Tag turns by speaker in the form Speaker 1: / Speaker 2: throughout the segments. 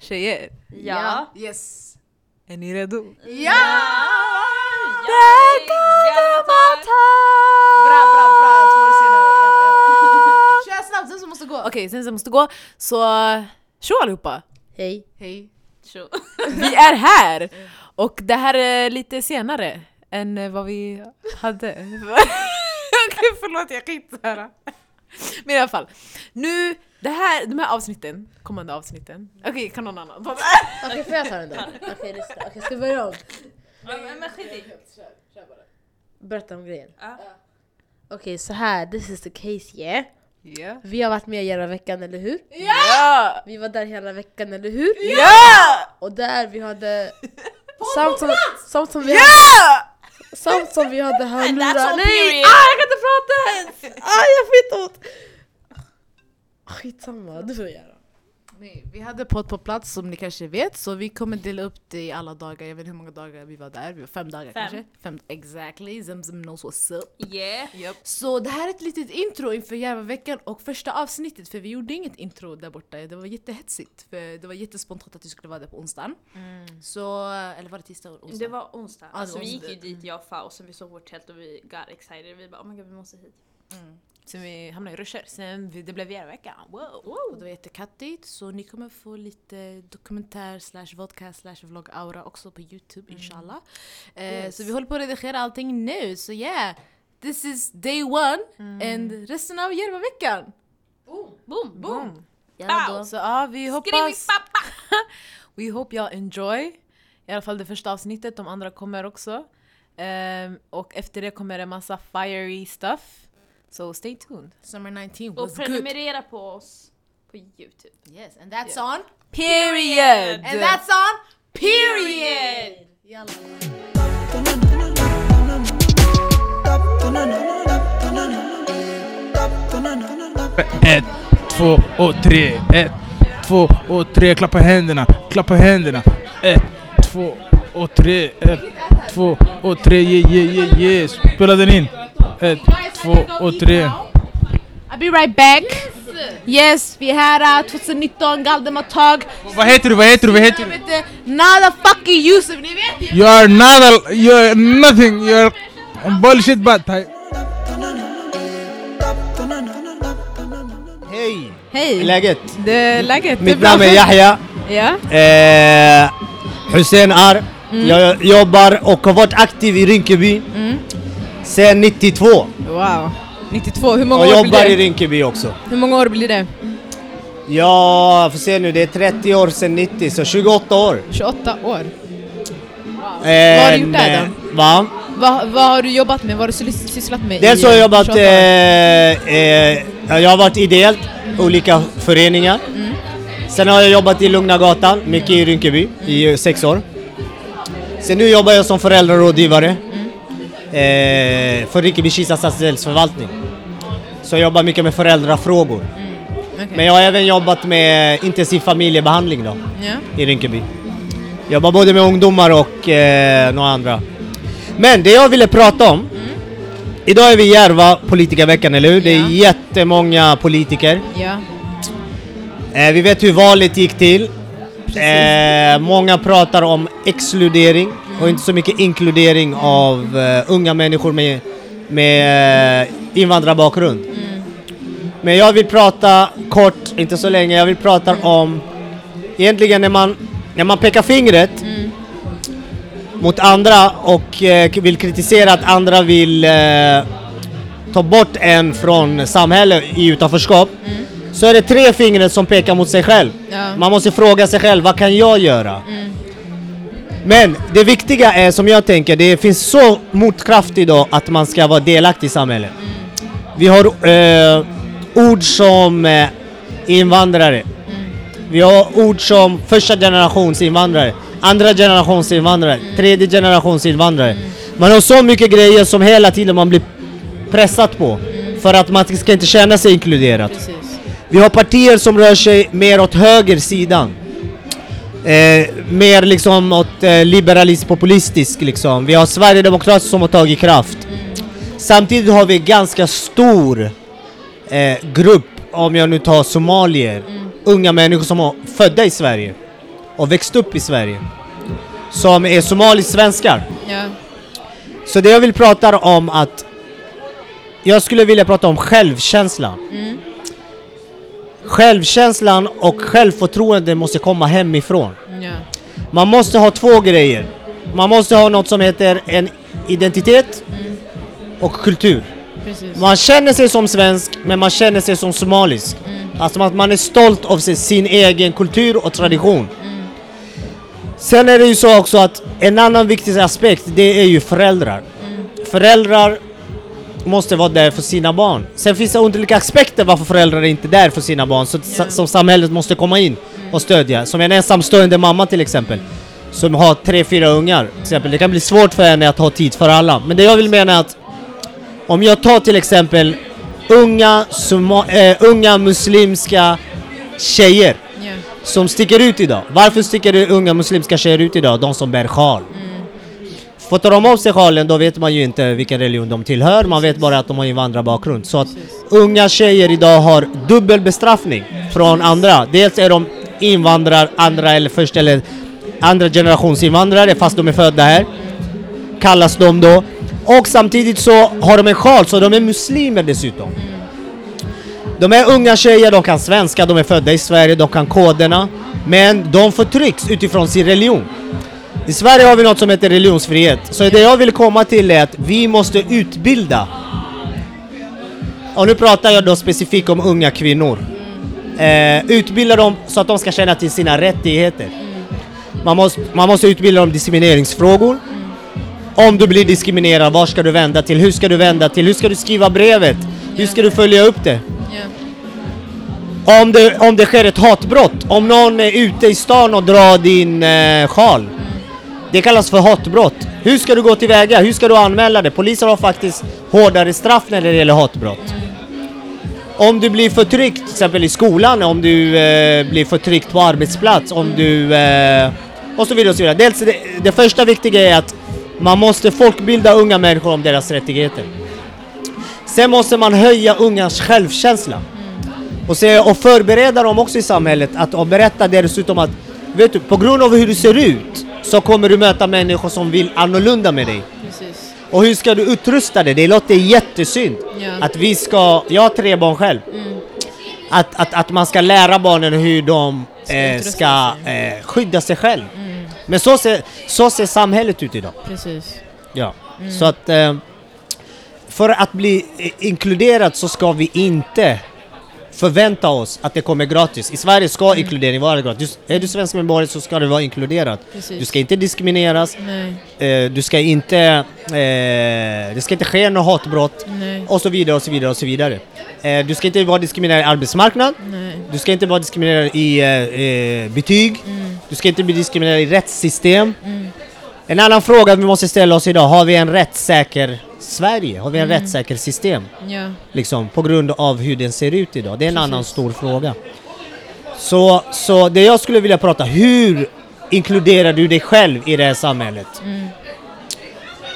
Speaker 1: tjejer?
Speaker 2: Ja.
Speaker 3: Yes!
Speaker 1: Är ni redo?
Speaker 3: Ja!
Speaker 1: Detta
Speaker 2: Bra, bra, bra! Två år senare. Jalla,
Speaker 3: Kör snabbt, sen så måste gå!
Speaker 1: Okej, sen så måste jag gå. Så tjo allihopa!
Speaker 4: Hej.
Speaker 3: Hej.
Speaker 2: jalla. Tjo.
Speaker 1: Vi är här! Och det här är lite senare än eh, vad vi hade. Okej, förlåt jag kan inte höra. Men i alla fall. Nu, det här, de här avsnitten, kommande avsnitten. Okej, kan någon annan? ta det?
Speaker 4: Okej, får jag ta den då? Okej, lyssna. Okej, ska jag börja om?
Speaker 2: Men men skit i.
Speaker 4: Berätta om grejen.
Speaker 2: Ja.
Speaker 4: Okej, så här. This is the case yeah. Vi har varit med hela veckan, eller hur?
Speaker 1: Ja!
Speaker 4: Vi var där hela veckan, eller hur?
Speaker 1: Ja!
Speaker 4: Och där vi hade... Samt som, samt som vi hade,
Speaker 1: Ja!
Speaker 4: samt som vi hade hörlurar...
Speaker 3: Alltså,
Speaker 4: Nej!
Speaker 2: period.
Speaker 4: Ah, jag kan inte prata ens! Ah, jag får inte ont! Skitsamma, du får göra.
Speaker 3: Nej, vi hade podd på plats som ni kanske vet, så vi kommer dela upp det i alla dagar. Jag vet inte hur många dagar vi var där, vi var fem dagar kanske. Fem, exactly, Zemzem knows what's up.
Speaker 2: Yeah.
Speaker 3: Så det här är ett litet intro inför Järvaveckan och första avsnittet för vi gjorde inget intro där borta. Det var jättehetsigt för det var jättespontant att vi skulle vara där på onsdagen. Så, eller var det tisdag och onsdag?
Speaker 2: Det var onsdag.
Speaker 3: det var
Speaker 2: Alltså, vi gick
Speaker 3: onsdag. Mm.
Speaker 2: ju dit jag och Fao, sen vi såg vårt tält och vi got excited. Vi bara oh my god vi måste hit.
Speaker 1: Sen vi hamnade i rusher, sen vi, det blev Järvaveckan. Wow.
Speaker 3: Och det var jättekattigt så ni kommer få lite dokumentär slash vodka slash vlogg aura också på
Speaker 1: Mm.
Speaker 3: youtube inshallah. Eh, Så vi håller på att redigera allting nu så yeah! This is day one and resten av Järvaveckan!
Speaker 2: Boom! Boom!
Speaker 1: Ja, Så ja, vi hoppas... We hope y'all enjoy. I alla fall det första avsnittet, de andra kommer också. Ehm, och efter det kommer det massa fiery stuff. So stay tuned.
Speaker 3: Summer 19 was
Speaker 2: Och
Speaker 3: good!
Speaker 2: prenumerera på oss på youtube.
Speaker 3: Yes and that's on
Speaker 1: Period!
Speaker 3: and that's on period!
Speaker 5: Ett, två och tre. Ett, två och tre. Klappa händerna, klappa händerna. Ett, två och tre. Ett, två och tre. Yeah, yeah, yeah, yeah. Spela den in. Ett, två och tre.
Speaker 3: I'll be right back! Yes, vi är här uh, 2019, Galdematag!
Speaker 5: Vad heter du? Vad heter du? Vad heter
Speaker 3: Jag
Speaker 5: du?
Speaker 3: vet inte, nada fucking Yusuf, ni vet ju!
Speaker 5: You are not a, you are nothing. You are bullshit but
Speaker 6: Hej!
Speaker 1: Hej!
Speaker 6: Läget?
Speaker 1: det, läget?
Speaker 6: Mitt namn är Yahya
Speaker 1: Ja.
Speaker 6: eh, Hussein Ar.
Speaker 1: Mm.
Speaker 6: Jag jobbar och har varit aktiv i Rinkeby sen 92.
Speaker 1: Wow. 92, hur
Speaker 6: Och jobbar i Rinkeby också.
Speaker 1: Hur många år blir det?
Speaker 6: Ja, får se nu, det är 30 år sedan 90, så 28 år.
Speaker 1: 28 år.
Speaker 6: Vad har
Speaker 1: du gjort där
Speaker 6: Eh, Va?
Speaker 1: Vad har du jobbat med? Vad har du sysslat med?
Speaker 6: Dels har jag jobbat, eh, eh, jag har varit ideellt, olika föreningar. Sen har jag jobbat i Lugna Gatan, mycket i Rinkeby, i eh, sex år. Sen nu jobbar jag som föräldrarådgivare eh, för Rinkeby-Kista stadsdelsförvaltning. Så jag jobbar mycket med föräldrafrågor. Men jag har även jobbat med intensiv familjebehandling då, i Rinkeby. Jag jobbar både med ungdomar och eh, några andra. Men det jag ville prata om Idag är vi i Järva politikerveckan, eller hur? Det är jättemånga politiker.
Speaker 1: Ja.
Speaker 6: Eh, vi vet hur valet gick till. Eh, många pratar om exkludering och inte så mycket inkludering av eh, unga människor med, med eh, invandrarbakgrund. Men jag vill prata kort, inte så länge, jag vill prata om egentligen när man, när man pekar fingret mot andra och eh, k- vill kritisera att andra vill eh, ta bort en från samhälle i utanförskap så är det tre fingret som pekar mot sig själv.
Speaker 1: Ja.
Speaker 6: Man måste fråga sig själv, vad kan jag göra? Men det viktiga är, som jag tänker, det finns så motkraft idag att man ska vara delaktig i samhället. Vi har eh, ord som eh, invandrare. Vi har ord som första generations invandrare, andra generations invandrare, tredje generations invandrare. Man har så mycket grejer som hela tiden man blir pressat på för att man ska inte känna sig inkluderad. Vi har partier som rör sig mer åt höger sidan. Eh, mer liksom åt eh, liberalistisk populistisk liksom. Vi har Sverigedemokrater som har tagit kraft. Samtidigt har vi en ganska stor eh, grupp, om jag nu tar somalier, unga människor som är födda i Sverige. och växt upp i Sverige som är somalisk-svenskar.
Speaker 7: Ja.
Speaker 6: Så det jag vill prata om att jag skulle vilja prata om självkänslan. Självkänslan och självförtroende måste komma hemifrån.
Speaker 7: Ja.
Speaker 6: Man måste ha två grejer. Man måste ha något som heter en identitet och kultur.
Speaker 7: Precis.
Speaker 6: Man känner sig som svensk, men man känner sig som somalisk. Alltså att man är stolt av sin, sin egen kultur och tradition. Sen är det ju så också att en annan viktig aspekt, det är ju föräldrar. Föräldrar måste vara där för sina barn. Sen finns det olika aspekter varför föräldrar inte är där för sina barn, så, sa- som samhället måste komma in och stödja. Som en ensamstående mamma till exempel, som har tre, fyra ungar. Till exempel. Det kan bli svårt för henne att ha tid för alla. Men det jag vill mena är att om jag tar till exempel unga, soma, eh, unga muslimska tjejer
Speaker 7: Ja.
Speaker 6: som sticker ut idag. Varför sticker det unga muslimska tjejer ut idag? De som bär sjal. För tar de av sig sjalen då vet man ju inte vilken religion de tillhör, man vet bara att de har invandrarbakgrund. Så att unga tjejer idag har dubbel bestraffning från andra. Dels är de invandrare, andra eller första eller andra generations invandrare fast de är födda här. Kallas de då. Och samtidigt så har de en sjal, så de är muslimer dessutom. De är unga tjejer, de kan svenska, de är födda i Sverige, de kan koderna. Men de förtrycks utifrån sin religion. I Sverige har vi något som heter religionsfrihet. Så det jag vill komma till är att vi måste utbilda. Och nu pratar jag då specifikt om unga kvinnor. Eh, utbilda dem så att de ska känna till sina rättigheter. Man måste, man måste utbilda dem i diskrimineringsfrågor. Om du blir diskriminerad, var ska du vända till? Hur ska du vända till? Hur ska du skriva brevet? Hur ska du följa upp det? Om det, om det sker ett hatbrott, om någon är ute i stan och drar din eh, sjal. Det kallas för hatbrott. Hur ska du gå tillväga? Hur ska du anmäla det? Polisen har faktiskt hårdare straff när det gäller hatbrott. Om du blir förtryckt, till exempel i skolan, om du eh, blir förtryckt på arbetsplats, om du... Eh, och så vidare och så vidare. Dels det, det första viktiga är att man måste folkbilda unga människor om deras rättigheter. Sen måste man höja ungas självkänsla. Och, se, och förbereda dem också i samhället att och berätta dessutom att vet du, på grund av hur du ser ut så kommer du möta människor som vill annorlunda med dig.
Speaker 7: Precis.
Speaker 6: Och hur ska du utrusta dig? Det låter jättesynd
Speaker 7: Ja. Mm.
Speaker 6: att vi ska, jag har tre barn själv, att, att, att man ska lära barnen hur de eh, ska eh, skydda sig själv. Men så ser, så ser samhället ut idag.
Speaker 7: Mm. Precis. Mm.
Speaker 6: Ja. Så att eh, för att bli eh, inkluderad så ska vi inte förvänta oss att det kommer gratis. I Sverige ska
Speaker 7: Mm.
Speaker 6: inkludering vara gratis. Är du svensk medborgare så ska du vara inkluderad.
Speaker 7: Precis.
Speaker 6: Du ska inte diskrimineras,
Speaker 7: Nej.
Speaker 6: eh, du ska inte... Eh, det ska inte ske något hatbrott
Speaker 7: Nej.
Speaker 6: och så vidare och så vidare och så vidare. Eh, du ska inte vara diskriminerad i arbetsmarknad,
Speaker 7: Nej.
Speaker 6: du ska inte vara diskriminerad i eh, eh, betyg,
Speaker 7: Mm.
Speaker 6: du ska inte bli diskriminerad i rättssystem. En annan fråga vi måste ställa oss idag, har vi en rättssäker Sverige? Har vi
Speaker 7: Mm.
Speaker 6: en rättssäker system?
Speaker 7: Ja.
Speaker 6: liksom, på grund av hur den ser ut idag. Det är en annan stor fråga. Så, så det jag skulle vilja prata, hur inkluderar du dig själv i det här samhället?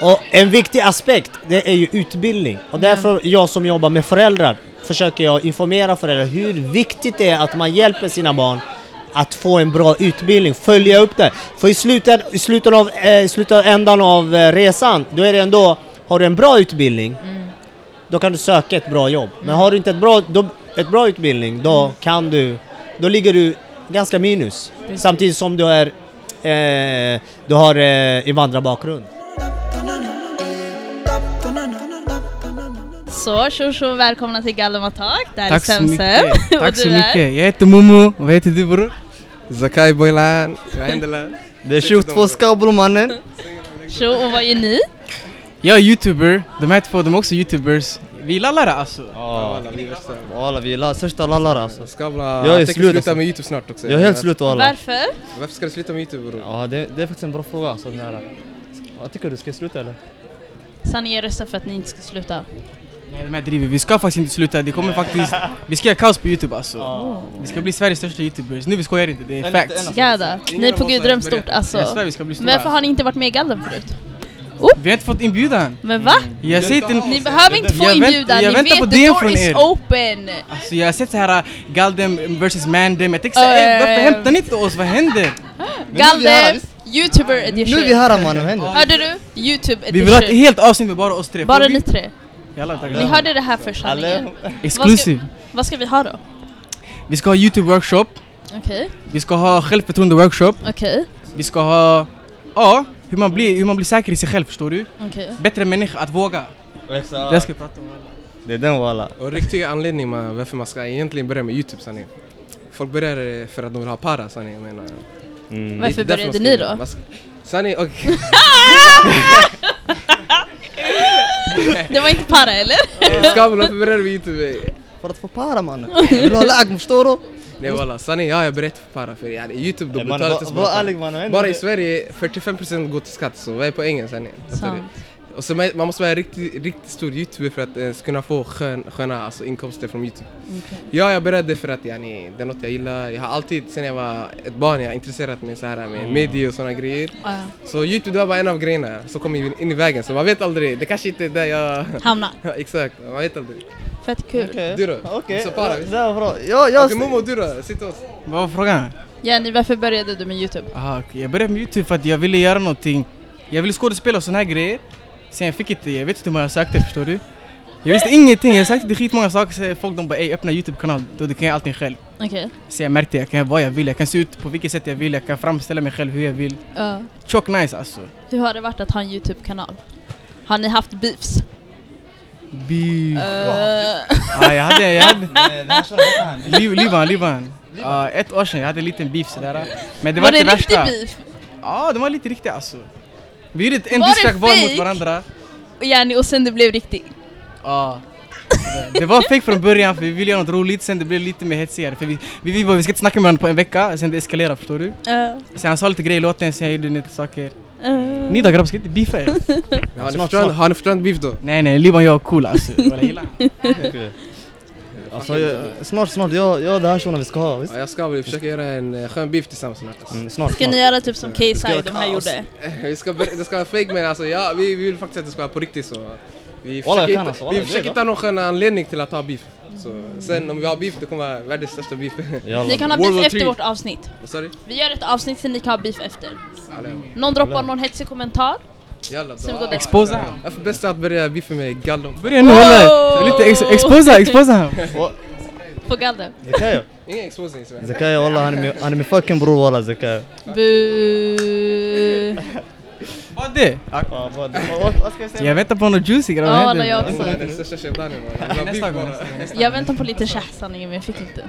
Speaker 6: Och en viktig aspekt, det är ju utbildning. Och därför jag som jobbar med föräldrar, försöker jag informera föräldrar hur viktigt det är att man hjälper sina barn att få en bra utbildning, följa upp det. För i slutet, i slutet av, eh, i slutändan av eh, resan, då är det ändå, har du en bra utbildning, då kan du söka ett bra jobb. Men har du inte ett bra, då, ett bra utbildning, då
Speaker 8: Mm.
Speaker 6: kan du, då ligger du ganska minus. Samtidigt som du är, eh, du har eh, invandrarbakgrund.
Speaker 2: Så, tjo tjo, välkomna till Gallematak. Det här
Speaker 5: Tack
Speaker 2: är
Speaker 5: så
Speaker 2: Semsem.
Speaker 5: mycket. Tack
Speaker 2: Och
Speaker 5: så
Speaker 2: du är?
Speaker 5: mycket. Jag heter Momo. Vad heter du bror?
Speaker 9: زكاي بويلان عندنا
Speaker 5: Det är 22
Speaker 9: سكابل مانن
Speaker 2: Tjo, och vad är ni?
Speaker 5: Jag är youtuber. De här två, de är också youtubers. Vi lallar alltså.
Speaker 8: Walla vi är största lallare alltså.
Speaker 9: سكابل
Speaker 8: يا
Speaker 9: jag tänker
Speaker 8: سلوت
Speaker 9: sluta
Speaker 8: alltså.
Speaker 9: med youtube snart också
Speaker 8: Jag är helt slut walla.
Speaker 2: Varför?
Speaker 9: Varför ska du sluta med youtube bror?
Speaker 8: Ja det, det är faktiskt en bra fråga alltså den här. Vad tycker du, ska jag sluta eller?
Speaker 2: Sa ni er rösta för att ni inte ska sluta?
Speaker 5: Nej, de här driver. Vi ska faktiskt inte sluta. Det kommer faktiskt... Vi ska göra kaos på youtube alltså. Vi ska bli Sveriges största youtubers. Nu vi skojar inte. Det är facts.
Speaker 2: Gada. Ni är på Gudröm stort
Speaker 5: Jag
Speaker 2: alltså.
Speaker 5: svär vi ska bli
Speaker 2: Men
Speaker 5: stora.
Speaker 2: varför har ni inte varit med i Gallen förut?
Speaker 5: Vi har inte fått inbjudan.
Speaker 2: Men va?
Speaker 5: Jag säger till...
Speaker 2: Ni behöver inte få
Speaker 5: Mm. Jag vänt-
Speaker 2: inbjudan, ni
Speaker 5: jag väntar på
Speaker 2: vet the
Speaker 5: DM
Speaker 2: door
Speaker 5: från
Speaker 2: is
Speaker 5: er.
Speaker 2: open!
Speaker 5: Alltså jag har sett så här Galdem äh, versus Mandem. Jag tänkte såhär,
Speaker 2: Eh.
Speaker 5: varför hämtar ni inte oss? Vad händer?
Speaker 2: Galde, youtuber edition.
Speaker 5: Nu är vi här, mannen, vad händer?
Speaker 2: Hörde du? Youtube edition.
Speaker 5: Vi vill ha ett helt avsnitt med bara oss tre.
Speaker 2: Bara
Speaker 5: Får vi-
Speaker 2: ni tre.
Speaker 5: Jalla, tack.
Speaker 2: Ni hörde det här först sanningen.
Speaker 5: Hallå. Exclusive.
Speaker 2: Vad ska, vad ska vi ha då?
Speaker 5: Vi ska ha Youtube-workshop,
Speaker 2: Okej,
Speaker 5: vi ska ha självförtroende-workshop,
Speaker 2: okej,
Speaker 5: vi ska ha... Ja, hur man blir, hur man blir säker i sig själv, förstår du?
Speaker 2: okej.
Speaker 5: Bättre människa, att våga.
Speaker 9: Exakt.
Speaker 5: Det ska vi prata om.
Speaker 9: Det är den walla. Och riktiga anledningen med varför man ska egentligen börja med Youtube sanningen. Folk börjar eh, för att de vill ha para sanningen jag menar. Mm, Det är
Speaker 2: Varför
Speaker 9: därför
Speaker 2: började
Speaker 9: man ska
Speaker 2: ni
Speaker 9: göra det.
Speaker 2: då?
Speaker 9: Man ska- Sanning och...
Speaker 2: Det var inte para eller?
Speaker 9: Skabel varför började du med Youtube? eh?
Speaker 8: För att få para mannen. Vill du ha lag, förstår du?
Speaker 9: Nej walla, sanning jag har berättat för para för yani, Youtube de
Speaker 8: Nej, man,
Speaker 9: betalar
Speaker 8: va-
Speaker 9: inte ens
Speaker 8: var
Speaker 9: bra för
Speaker 8: ärlig,
Speaker 9: det.
Speaker 8: man, vad händer
Speaker 9: Bara i
Speaker 8: det?
Speaker 9: Sverige 45% går till skatt så vad är poängen sanning? Fattar du?
Speaker 2: Sant.
Speaker 9: Och så man man måste vara en riktigt, riktigt stor youtuber för att ens kunna få skön, sköna alltså, inkomster från youtube. Ja, jag började för att yani, det är något jag gillar. Jag har alltid sen jag var ett barn jag har intresserat mig så här med media och sådana grejer.
Speaker 2: Ja.
Speaker 9: Så youtube det var bara en av grejerna som kom in in i vägen så man vet aldrig. Det kanske inte är där jag...
Speaker 2: Hamna.
Speaker 9: Exakt, man vet aldrig.
Speaker 2: Fett kul.
Speaker 9: Du då?
Speaker 8: Okej,
Speaker 9: Så para,
Speaker 8: det där var bra. Ja, jag...
Speaker 9: Okej Momo, du då? Sitt oss.
Speaker 5: Vad var frågan?
Speaker 2: Jenny, varför började du med Youtube?
Speaker 5: Aha, Ah, okej. Jag började med Youtube för att jag ville göra någonting. Jag ville skådespela och såna här grejer. Sen jag fick inte, jag vet inte hur många jag sökte förstår du. Jag visste ingenting, jag sökte till skitmånga saker. Så folk de bara ey öppna Youtube-kanal, då du kan jag allting själv.
Speaker 2: Okej.
Speaker 5: Så jag märkte jag kan göra vad jag vill, jag kan se ut på vilket sätt jag vill, jag kan framställa mig själv hur jag vill.
Speaker 2: Ja.
Speaker 5: Tjock nice alltså.
Speaker 2: Hur har det varit att ha en Youtube-kanal? Har ni haft beefs?
Speaker 5: Bi-
Speaker 2: Eh,
Speaker 5: Ja, Ah, jag hade, jag hade... Liv- Livan, Livan. Ja, ett år sedan jag hade en liten beef sådär. Men det var,
Speaker 2: var det en
Speaker 5: inte
Speaker 2: riktig
Speaker 5: värsta.
Speaker 2: beef?
Speaker 5: Ja, de var lite riktiga alltså. Vi gjorde ett- en
Speaker 2: Var det
Speaker 5: distrack var mot
Speaker 2: fake?
Speaker 5: varandra.
Speaker 2: Och Jenny, och sen det blev riktigt.
Speaker 5: Ja. Det var fake från början för vi ville göra något roligt, sen det blev lite mer hetsigare för vi, vi, vi, bara, vi ska inte snacka med varandra på en vecka, sen det eskalerade förstår du?
Speaker 2: Eh,
Speaker 5: Sen han sa lite grejer i låten, sen jag gjorde lite saker.
Speaker 2: eh.
Speaker 5: Ni då grabbar, ska inte beefa er?
Speaker 9: Har ni förstått- Har ni förstått beef då?
Speaker 5: Nej nej, Liban och jag är cool alltså. Walla, gillar han.
Speaker 8: Alltså, jag, snart, snart. Jag, jag det här shunon vi ska ha, visst?
Speaker 9: Ja, jag ska väl försöka göra en eh, skön beef tillsammans snart. alltså.
Speaker 8: Mm, snart,
Speaker 2: Ska
Speaker 8: snart.
Speaker 2: ni göra typ som Kaysai de här
Speaker 9: kaos.
Speaker 2: gjorde?
Speaker 9: Vi ska, ber- det ska vara fake men alltså ja, vi, vi vill faktiskt att det ska vara på riktigt så. eh, Vi
Speaker 8: Walla, jag
Speaker 9: försöker,
Speaker 8: kan
Speaker 9: hitta,
Speaker 8: alltså, walla,
Speaker 9: vi
Speaker 8: det är
Speaker 9: försöker
Speaker 8: bra.
Speaker 9: hitta någon skön anledning till att ha beef. Så, sen om vi har beef det kommer vara världens största beef.
Speaker 2: Ni
Speaker 8: Jalla.
Speaker 2: kan ha
Speaker 9: World War
Speaker 2: beef efter
Speaker 9: Three.
Speaker 2: vårt avsnitt.
Speaker 9: Vad sa du?
Speaker 2: Vi gör ett avsnitt sen ni kan ha beef efter.
Speaker 9: Alla,
Speaker 2: Någon droppar någon hetsig kommentar.
Speaker 9: Jalla då.
Speaker 2: Sen vi går direkt.
Speaker 5: Exposa han.
Speaker 9: Varför bäst att börja beefa med Gallo?
Speaker 5: Börja nu hålla Lite ex- exposa, exposa han.
Speaker 2: På galden.
Speaker 8: Zakayo.
Speaker 9: Ingen exposing Sven.
Speaker 8: Zakayo walla, han är min- han är min fucking bror walla Zakayo.
Speaker 2: Bu.
Speaker 5: Vad det?
Speaker 8: Ja, vad- vad- Vad ska jag säga?
Speaker 5: Jag väntar på något juicy grabbar.
Speaker 2: Ja,
Speaker 5: vad händer?
Speaker 2: walla, jag
Speaker 9: Han
Speaker 2: också.
Speaker 9: är den största shaibanen. man. Han vill ha
Speaker 5: Nästa
Speaker 9: beef
Speaker 5: gång.
Speaker 9: bara.
Speaker 2: Jag väntar på lite tjahsanningen men jag fick inte.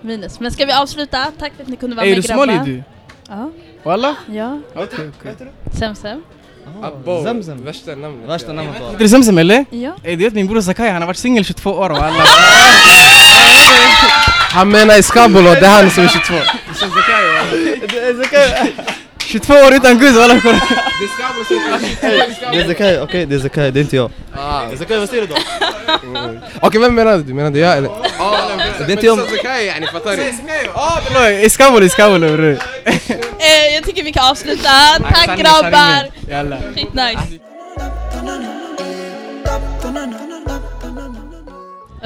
Speaker 2: Minus. Men ska vi avsluta? Tack för att ni kunde vara
Speaker 5: Ey, Är du
Speaker 2: med
Speaker 5: smal du?
Speaker 2: Ja.
Speaker 5: Walla?
Speaker 2: Ja.
Speaker 5: Okej okej.
Speaker 2: Semsem?
Speaker 9: Abbo,
Speaker 8: Zemzem.
Speaker 9: Värsta namnet.
Speaker 8: Värsta namnet walla.
Speaker 5: Är du Zemzem eller?
Speaker 2: Ja.
Speaker 5: Ey du vet min bror Zakai han har varit singel 22 år walla.
Speaker 9: Han menar Iskabul och det är han som är 22.
Speaker 5: 22 år utan guzz walla. kolla.
Speaker 9: Det är Iskabul som
Speaker 8: Det är Zakayo, okej det är Zakayo, det är inte jag.
Speaker 9: Ah.
Speaker 8: Zakayo, vad säger du då?
Speaker 9: Okej vem menade du? Menade jag eller? Det är inte jag. يعني fattar du?
Speaker 5: Hallå, Iskabul Iskabul bror.
Speaker 2: Eh, jag tycker vi kan avsluta. Tack
Speaker 5: Sanningen,
Speaker 2: grabbar!
Speaker 5: sanningen. Jalla.
Speaker 2: Skitnice!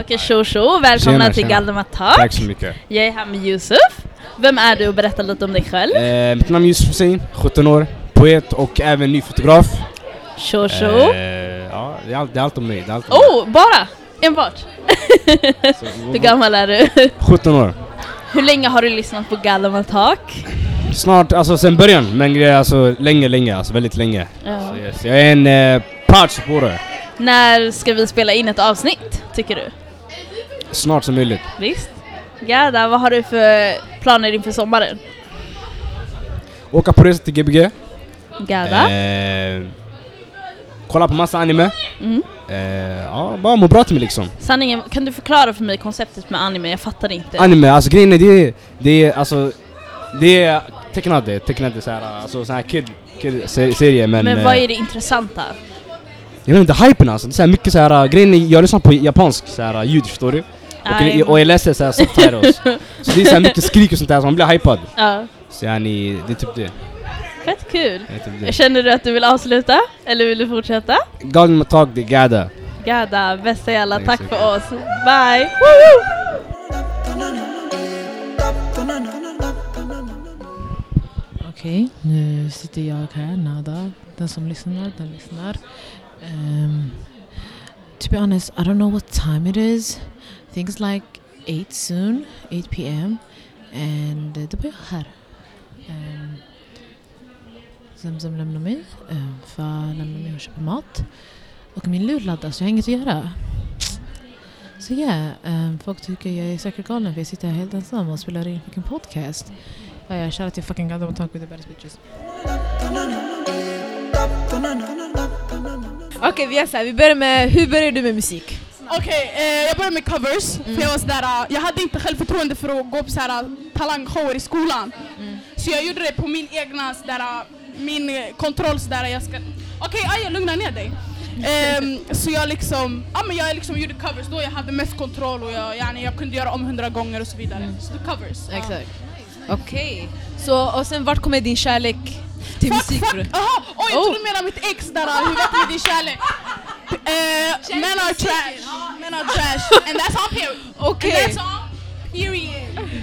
Speaker 2: Okej tjo tjo, välkomna
Speaker 10: Tjena,
Speaker 2: till
Speaker 10: tjena.
Speaker 2: Galdemar Talk.
Speaker 10: Tack så mycket.
Speaker 2: Jag är här med Yusuf. Vem är du och berätta lite om dig själv.
Speaker 10: Eh, mitt namn är Yusuf Hussein, 17 år, poet och även ny fotograf.
Speaker 2: Tjo tjo.
Speaker 10: Eh, ja, det är, allt, det är allt om mig. Det är allt om
Speaker 2: Oh, bara? Enbart? Hur gammal är du?
Speaker 10: mig. 17 år.
Speaker 2: Hur länge har du lyssnat på Galdemar Talk?
Speaker 10: Snart, alltså sen början, men det är alltså länge, länge, alltså väldigt länge.
Speaker 2: Ja.
Speaker 10: Yes, jag är en eh, partsupporter.
Speaker 2: När ska vi spela in ett avsnitt, tycker du?
Speaker 10: Snart som möjligt.
Speaker 2: Visst? Gerda, vad har du för planer inför sommaren?
Speaker 10: Åka på resa till Gbg.
Speaker 2: Gerda?
Speaker 10: Eh, kolla på massa anime.
Speaker 2: Mm.
Speaker 10: Eh, ja, bara må bra till mig liksom.
Speaker 2: Sanningen, kan du förklara för mig konceptet med anime? Jag fattar inte.
Speaker 10: Anime, alltså grejen är det är, det är alltså, det är tecknade, tecknade såhär, alltså såhär kid, kid se- serie men...
Speaker 2: men vad
Speaker 10: eh,
Speaker 2: är det intressanta?
Speaker 10: Jag vet inte, hypen alltså. Det är så här mycket så här äh, grejen är- jag lyssnar på japansk så här äh, ljud förstår du? Och,
Speaker 2: Aj.
Speaker 10: jag- och jag läser så här subtitles. så det är så här mycket skrik och sånt där så man blir hypad.
Speaker 2: Ja,
Speaker 10: Så yani, det är typ det.
Speaker 2: fett kul.
Speaker 10: det, är typ det.
Speaker 2: Känner du att du vill avsluta? Eller vill du fortsätta?
Speaker 10: Galen med tag, det är gada.
Speaker 2: Gerda, bästa jävla,
Speaker 10: Tack
Speaker 2: tack
Speaker 10: så
Speaker 2: för oss. Bye! Woho!
Speaker 1: Okej, nu sitter jag här, Nada. Den som lyssnar, den lyssnar. Um, to be honest, I don't know what time it is. I think it's like 8 soon, 8 p.m. And eh, då var jag här. Um, Zemzem lämnar mig, um, Fa lämnar mig och köper mat. Och min lur laddas, jag har inget att göra. Så ja, ehm, folk tycker jag är säkert galen för jag sitter här helt ensam och spelar in fucking podcast. Ja, jag kör att jag fucking goddamn talk with the baddest bitches.
Speaker 11: Okej, vi gör så här, vi börjar med, hur började du med musik?
Speaker 12: Okej, eh, jag började med covers. För jag, var sådär, eh, jag hade inte självförtroende för att gå på sådär, talangshower i skolan. Så jag gjorde det på min egna sådär, eh, min eh, kontroll. Sådär, jag ska... Okej, okay, lugna ner dig. Ehm, så jag liksom, ja, men jag liksom gjorde covers då jag hade mest kontroll och jag, yani, jag kunde göra om hundra gånger och så vidare. Så det är covers. ja.
Speaker 11: Exakt. Okej. Så, och sen vart kommer din kärlek till musik? Fuck,
Speaker 12: Jaha, oj jag trodde du menade mitt ex där, ah, hur vart det med din kärlek? Eh, men are trash, men are trash. And that's all period.
Speaker 11: Okej.
Speaker 12: And that's all period.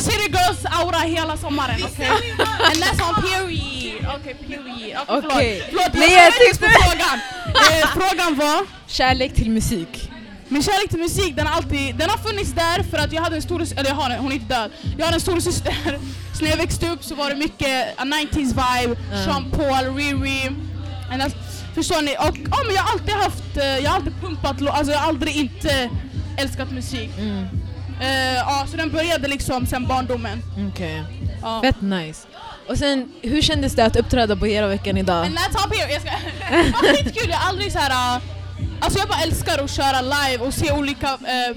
Speaker 12: City girls aura hela sommaren, okej? And that's all period. Okej, period.
Speaker 11: Okej.
Speaker 12: Förlåt, förlåt.
Speaker 11: Nej,
Speaker 12: jag
Speaker 11: jag
Speaker 12: svarade inte på
Speaker 11: tänkte-
Speaker 12: frågan. Eh, frågan var?
Speaker 11: Kärlek till musik.
Speaker 12: Min kärlek till musik den har alltid, den har funnits där för att jag hade en storasyster, eller jag har en, hon är inte död. Jag hade en storasyster. Så när jag växte upp så var det mycket a 90s vibe,
Speaker 11: Ja.
Speaker 12: Sean Paul, Riri. And that's, förstår ni? Och ja, men jag har alltid haft, eh, jag har alltid pumpat, lå- alltså jag har aldrig inte älskat musik. Eh, ja, så den började liksom sen barndomen.
Speaker 11: Okej.
Speaker 12: Ja.
Speaker 11: Fett nice. Och sen, hur kändes det att uppträda på era veckan idag?
Speaker 12: And that's how period. Jag ska... Det var skitkul, jag har aldrig så här... äh, Alltså jag bara älskar att köra live och se olika eh,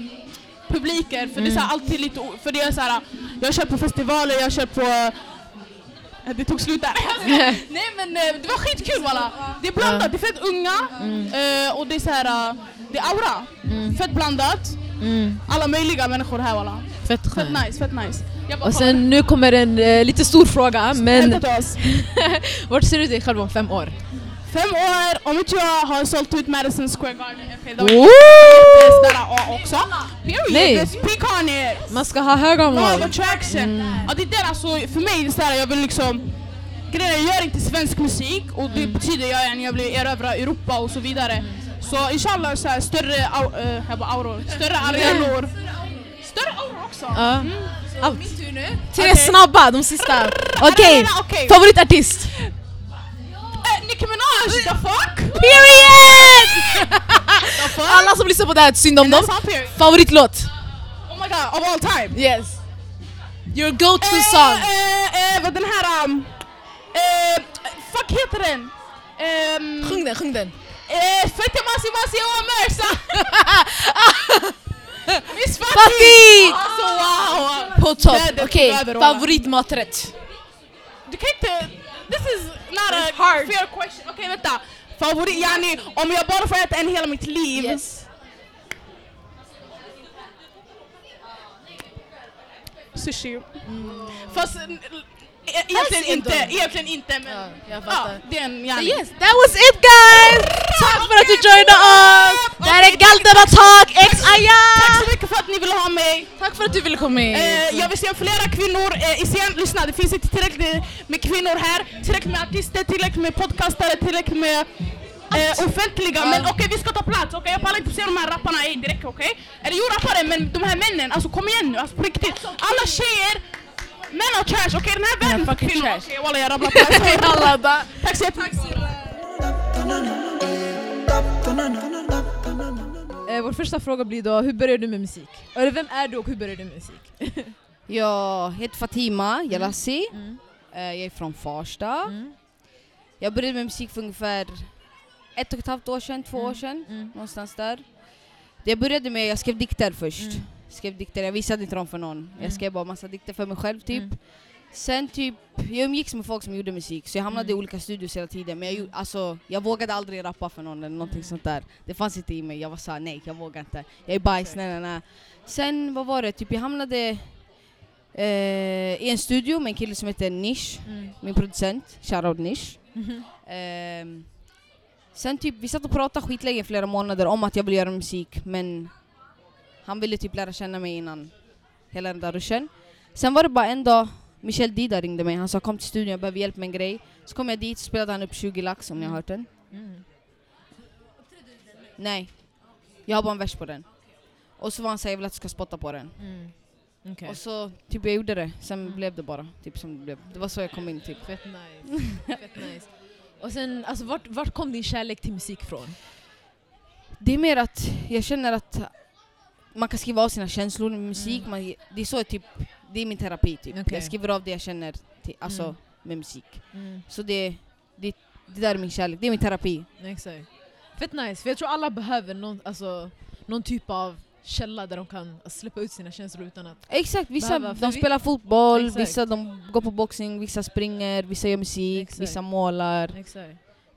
Speaker 12: publiker för det är så
Speaker 11: Mm.
Speaker 12: här alltid lite... o- För det är så här, äh, jag kör på festivaler, jag kör på... äh, Det tog slut där. Nej men eh, det var skitkul walla. Det är blandat, det är fett unga
Speaker 11: Mm.
Speaker 12: eh, och det är så här... äh, Det är aura. Fett blandat. Alla möjliga människor här walla.
Speaker 1: Mm, Fett
Speaker 12: Fett nice, fett nice. Jag bara
Speaker 11: Mm. Och
Speaker 12: kollar.
Speaker 11: sen nu kommer en eh, lite stor fråga, men...
Speaker 12: Hämta oss.
Speaker 11: Vart ser du dig själv om fem år?
Speaker 12: Fem år, om inte jag har sålt ut Madison Square Garden. Okej, det var-
Speaker 11: Woo!
Speaker 12: Det där A också. Period,
Speaker 11: Nej. Mm.
Speaker 12: let's pick on it.
Speaker 11: Man ska ha höga
Speaker 12: Law of
Speaker 11: mål.
Speaker 12: attraction.
Speaker 11: Mm.
Speaker 12: Ja, det där alltså, för mig, det är så här, jag vill liksom... Grejen är, jag gör inte svensk musik och
Speaker 11: Mm.
Speaker 12: det betyder jag än jag vill erövra Europa och så vidare. Så inshallah så här, större, au, eh, jag bara auror, större arenor. Större auror också!
Speaker 11: Mm. Ja.
Speaker 12: Mm. Så
Speaker 11: Allt.
Speaker 12: Min tur nu.
Speaker 11: Tre
Speaker 12: Okej.
Speaker 11: snabba, de sista. Okej,
Speaker 12: Arena, okej.
Speaker 11: favoritartist?
Speaker 12: Eh, Nicki Minaj, the fuck!
Speaker 11: Period! Alla som lyssnar på det här, synd om dem.
Speaker 1: alltså-
Speaker 11: Favoritlåt?
Speaker 12: Oh my god, of all time?
Speaker 11: Yes. Your go-to song?
Speaker 12: Eh, eh, vad den här... Um, eh, fuck heter den? Um,
Speaker 11: sjung den, sjung den.
Speaker 12: Eh, Fette Masi Masi och Mersa! Miss Fatty!
Speaker 11: Fatty!
Speaker 12: Alltså wow!
Speaker 11: På topp.
Speaker 12: Vädret
Speaker 11: Okej,
Speaker 12: över, walla.
Speaker 11: favoritmaträtt?
Speaker 12: Du kan inte... This is not a fair question. Okej vänta. Favorit, yani om jag bara får äta en hela mitt liv. Sushi. Fast n- l- e- egentligen
Speaker 11: Fast
Speaker 12: inte,
Speaker 11: ändå.
Speaker 12: egentligen inte men... Ja,
Speaker 11: jag fattar.
Speaker 12: det är en yani.
Speaker 11: Yes, that was it guys! Tack för att du joinade oss! Det här är Galderna Talk X
Speaker 12: Tack så mycket för att ni ville ha mig.
Speaker 11: Tack för att du ville komma hit.
Speaker 12: Eh, jag vill se flera kvinnor eh, i scen. Lyssna, det finns inte tillräckligt med kvinnor här, tillräckligt med artister, tillräckligt med podcastare, tillräckligt med eh, offentliga. Men okej, vi ska ta plats. Okej, jag pallar inte se de här rapparna i direkt, okej? Eller jo, rappare, men de här männen. Alltså kom igen nu, alltså på riktigt. Alla tjejer, män och trash. Okej, den här världen är för kvinnor. Okej, walla jag rabblar på.
Speaker 11: Alla där.
Speaker 12: Tack så jättemycket.
Speaker 11: Eh, vår första fråga blir då, hur började du med musik? Eller vem är du och hur började du med musik?
Speaker 13: Jag heter Fatima Jalassi. Eh, Jag är från Farsta. Jag började med musik för ungefär ett och ett halvt år sedan, två år sedan. Någonstans där. Det jag började med, jag skrev dikter först. Skrev dikter, jag visade inte dem för någon.
Speaker 11: Mm.
Speaker 13: Jag skrev bara massa dikter för mig själv typ. Sen typ, jag umgicks med folk som gjorde musik så jag hamnade i olika studios hela tiden. Men jag, gjorde- alltså, jag vågade aldrig rappa för någon eller någonting sånt där. Det fanns inte i mig, jag var såhär nej jag vågar inte. Jag är bajs, nej nej nej. Sen vad var det, typ jag hamnade eh, i en studio med en kille som heter Nish,
Speaker 11: Mm.
Speaker 13: min producent, shoutout Nish.
Speaker 11: Mhm.
Speaker 13: Ehm, sen typ, vi satt och pratade skitlänge i flera månader om att jag ville göra musik men han ville typ lära känna mig innan hela den där ruschen. Sen var det bara en dag
Speaker 12: Michel Dida ringde mig, han sa kom till studion, jag behöver hjälp med en grej. Så kom jag dit, spelade han upp 20 lax om ni har hört den.
Speaker 4: Mm.
Speaker 12: Nej. Jag har bara en vers på den. Och så var han såhär, jag vill att du ska spotta på den.
Speaker 4: Mm. Okej.
Speaker 12: Och så, typ jag gjorde det. Sen blev det bara, typ som det blev. Det var så jag kom in typ.
Speaker 1: Mm. Fett nice. Fett nice. Och sen, alltså vart, vart kom din kärlek till musik från?
Speaker 12: Det är mer att jag känner att man kan skriva av sina känslor med musik. Man, det är så typ, det är min terapi typ.
Speaker 1: Mm. Okej.
Speaker 12: Jag skriver av det jag känner till, alltså,
Speaker 1: Mm.
Speaker 12: med musik.
Speaker 1: Mm.
Speaker 12: Så det, det, det där är min kärlek, det är min terapi.
Speaker 1: Mm, Exakt. Fett nice, för jag tror alla behöver någon, alltså, någon typ av källa där de kan alltså, släppa ut sina känslor utan att...
Speaker 12: Exakt, vissa
Speaker 1: behöva- för
Speaker 12: de
Speaker 1: vi-
Speaker 12: spelar fotboll,
Speaker 1: Exakt.
Speaker 12: vissa de går på boxning, vissa springer, vissa gör musik, vissa målar.
Speaker 1: Exakt.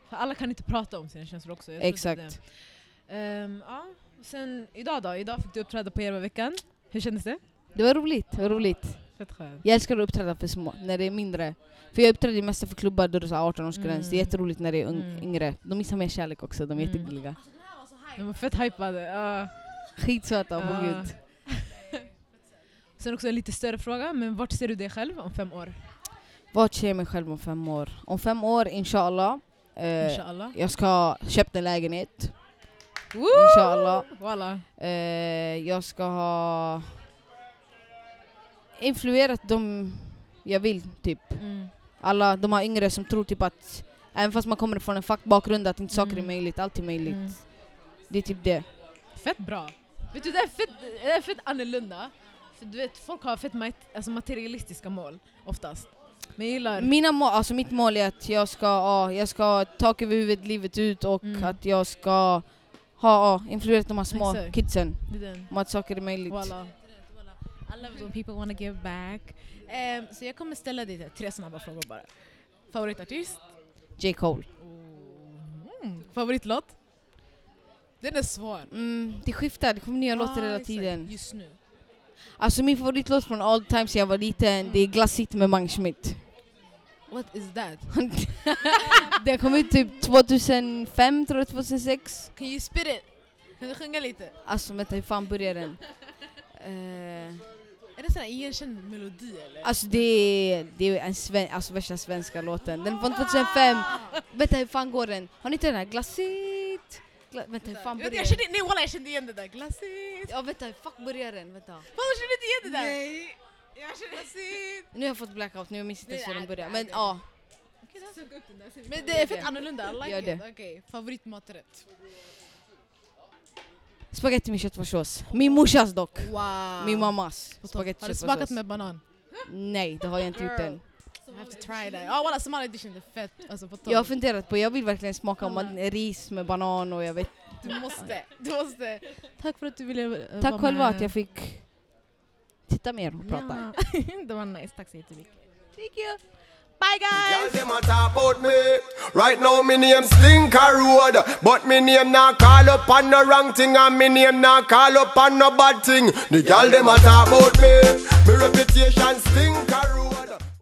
Speaker 1: För alla kan inte prata om sina känslor också. Jag tror
Speaker 12: Exakt.
Speaker 1: det är det. Ehm, ja. Sen idag då? Idag fick du uppträda på Järvaveckan. Hur kändes det?
Speaker 12: Det var roligt, det var roligt.
Speaker 1: Fett skönt.
Speaker 12: Jag älskar att uppträda för små, när det är mindre. För jag uppträder ju mest för klubbar då det är så här 18-årsgräns. Det är
Speaker 1: Mm.
Speaker 12: jätteroligt när det är un- yngre. De visar mer kärlek också, de är jättegulliga.
Speaker 1: De var fett hypade. ja.
Speaker 12: Skitsöta, på
Speaker 1: Ja.
Speaker 12: gud.
Speaker 1: Sen också en lite större fråga, men vart ser du dig själv om fem år?
Speaker 12: Vart ser jag mig själv om fem år? Om fem år, inshallah. Eh,
Speaker 1: Inshallah.
Speaker 12: Jag ska ha köpt en lägenhet.
Speaker 1: Woo!
Speaker 12: Inshallah.
Speaker 1: Walla.
Speaker 12: Eh, jag ska ha influerat dem jag vill, typ.
Speaker 1: Mm.
Speaker 12: Alla de här yngre som tror typ att även fast man kommer från en fackbakgrund att inte
Speaker 1: Mm.
Speaker 12: saker är möjligt, allt är möjligt. Det är typ det.
Speaker 1: Fett bra. Vet du, det är fett, det är fett annorlunda. För du vet, folk har fett mat- alltså materialistiska mål oftast. Men jag gillar...
Speaker 12: Mina mål, alltså mitt mål är att jag ska, ja, jag ska ha tak över huvudet livet ut och att jag ska ha ja, influerat de här små
Speaker 1: Exakt.
Speaker 12: kidsen.
Speaker 1: Det är den.
Speaker 12: Om att saker är möjligt.
Speaker 1: Walla.
Speaker 4: I love it when people wanna give back. Ehm, så jag kommer ställa dig tre snabba frågor bara. Favoritartist?
Speaker 12: J. Cole.
Speaker 1: Mm. Favoritlåt? Den är svår.
Speaker 12: Mm, det skiftar, det kommer nya låtar hela
Speaker 1: exakt.
Speaker 12: tiden.
Speaker 1: Just nu.
Speaker 12: Alltså min favoritlåt från all time sedan jag var liten, det är Glassigt med Mange Schmidt.
Speaker 1: What is that?
Speaker 12: Den kom ut typ 2005, tror jag, 2006.
Speaker 1: Can you spit it? Kan du sjunga lite?
Speaker 12: Alltså vänta, hur fan börjar den? Eh,
Speaker 1: Är det sån här igenkänd melodi eller?
Speaker 12: alltså det är, det är en sven, alltså, värsta svenska låten. Den är från 2005. Vänta, hur fan går den? Har ni inte den här? Glassigt? Gla vänta, hur fan börjar
Speaker 1: jag kände, nej walla jag kände igen det där. Glassigt.
Speaker 12: Ja vänta, hur fuck börjar den? Vänta.
Speaker 1: Walla kände inte igen det där?
Speaker 12: Nej.
Speaker 1: Jag kände glassigt.
Speaker 12: Nu har jag fått blackout, nu har jag minns inte ens hur den börjar. Men ja.
Speaker 1: Okej, så söka upp den där sen. Men det är fett
Speaker 12: Gör det.
Speaker 1: annorlunda, I like
Speaker 12: Gör det.
Speaker 1: it. Okej, favoritmaträtt?
Speaker 12: Spaghetti med köttfärssås. Min morsas dock.
Speaker 1: Wow.
Speaker 12: Min mammas. Spaghetti
Speaker 1: Har du
Speaker 12: med
Speaker 3: typ
Speaker 12: köttfärssås.
Speaker 1: smakat med banan?
Speaker 12: Nej, det har jag inte gjort
Speaker 1: Girl.
Speaker 12: än.
Speaker 1: I have to try that. Oh, Ja walla Somali edition, det är fett. Alltså på
Speaker 12: Jag har
Speaker 1: tal.
Speaker 12: funderat på, jag vill verkligen smaka man, ris med banan och jag vet.
Speaker 1: Du måste, du måste. Tack för att du ville eh,
Speaker 12: Tack
Speaker 1: vara
Speaker 12: själva
Speaker 1: med.
Speaker 12: att jag fick titta mer och prata.
Speaker 4: det var nice, tack så jättemycket.
Speaker 1: Thank you.
Speaker 4: Bye guys!
Speaker 9: Them a talk about me. Right now, me name Slinker Road. But me name not call up on no wrong thing. And me name not call up on no bad thing. The girl them a talk about me. Me reputation Slinker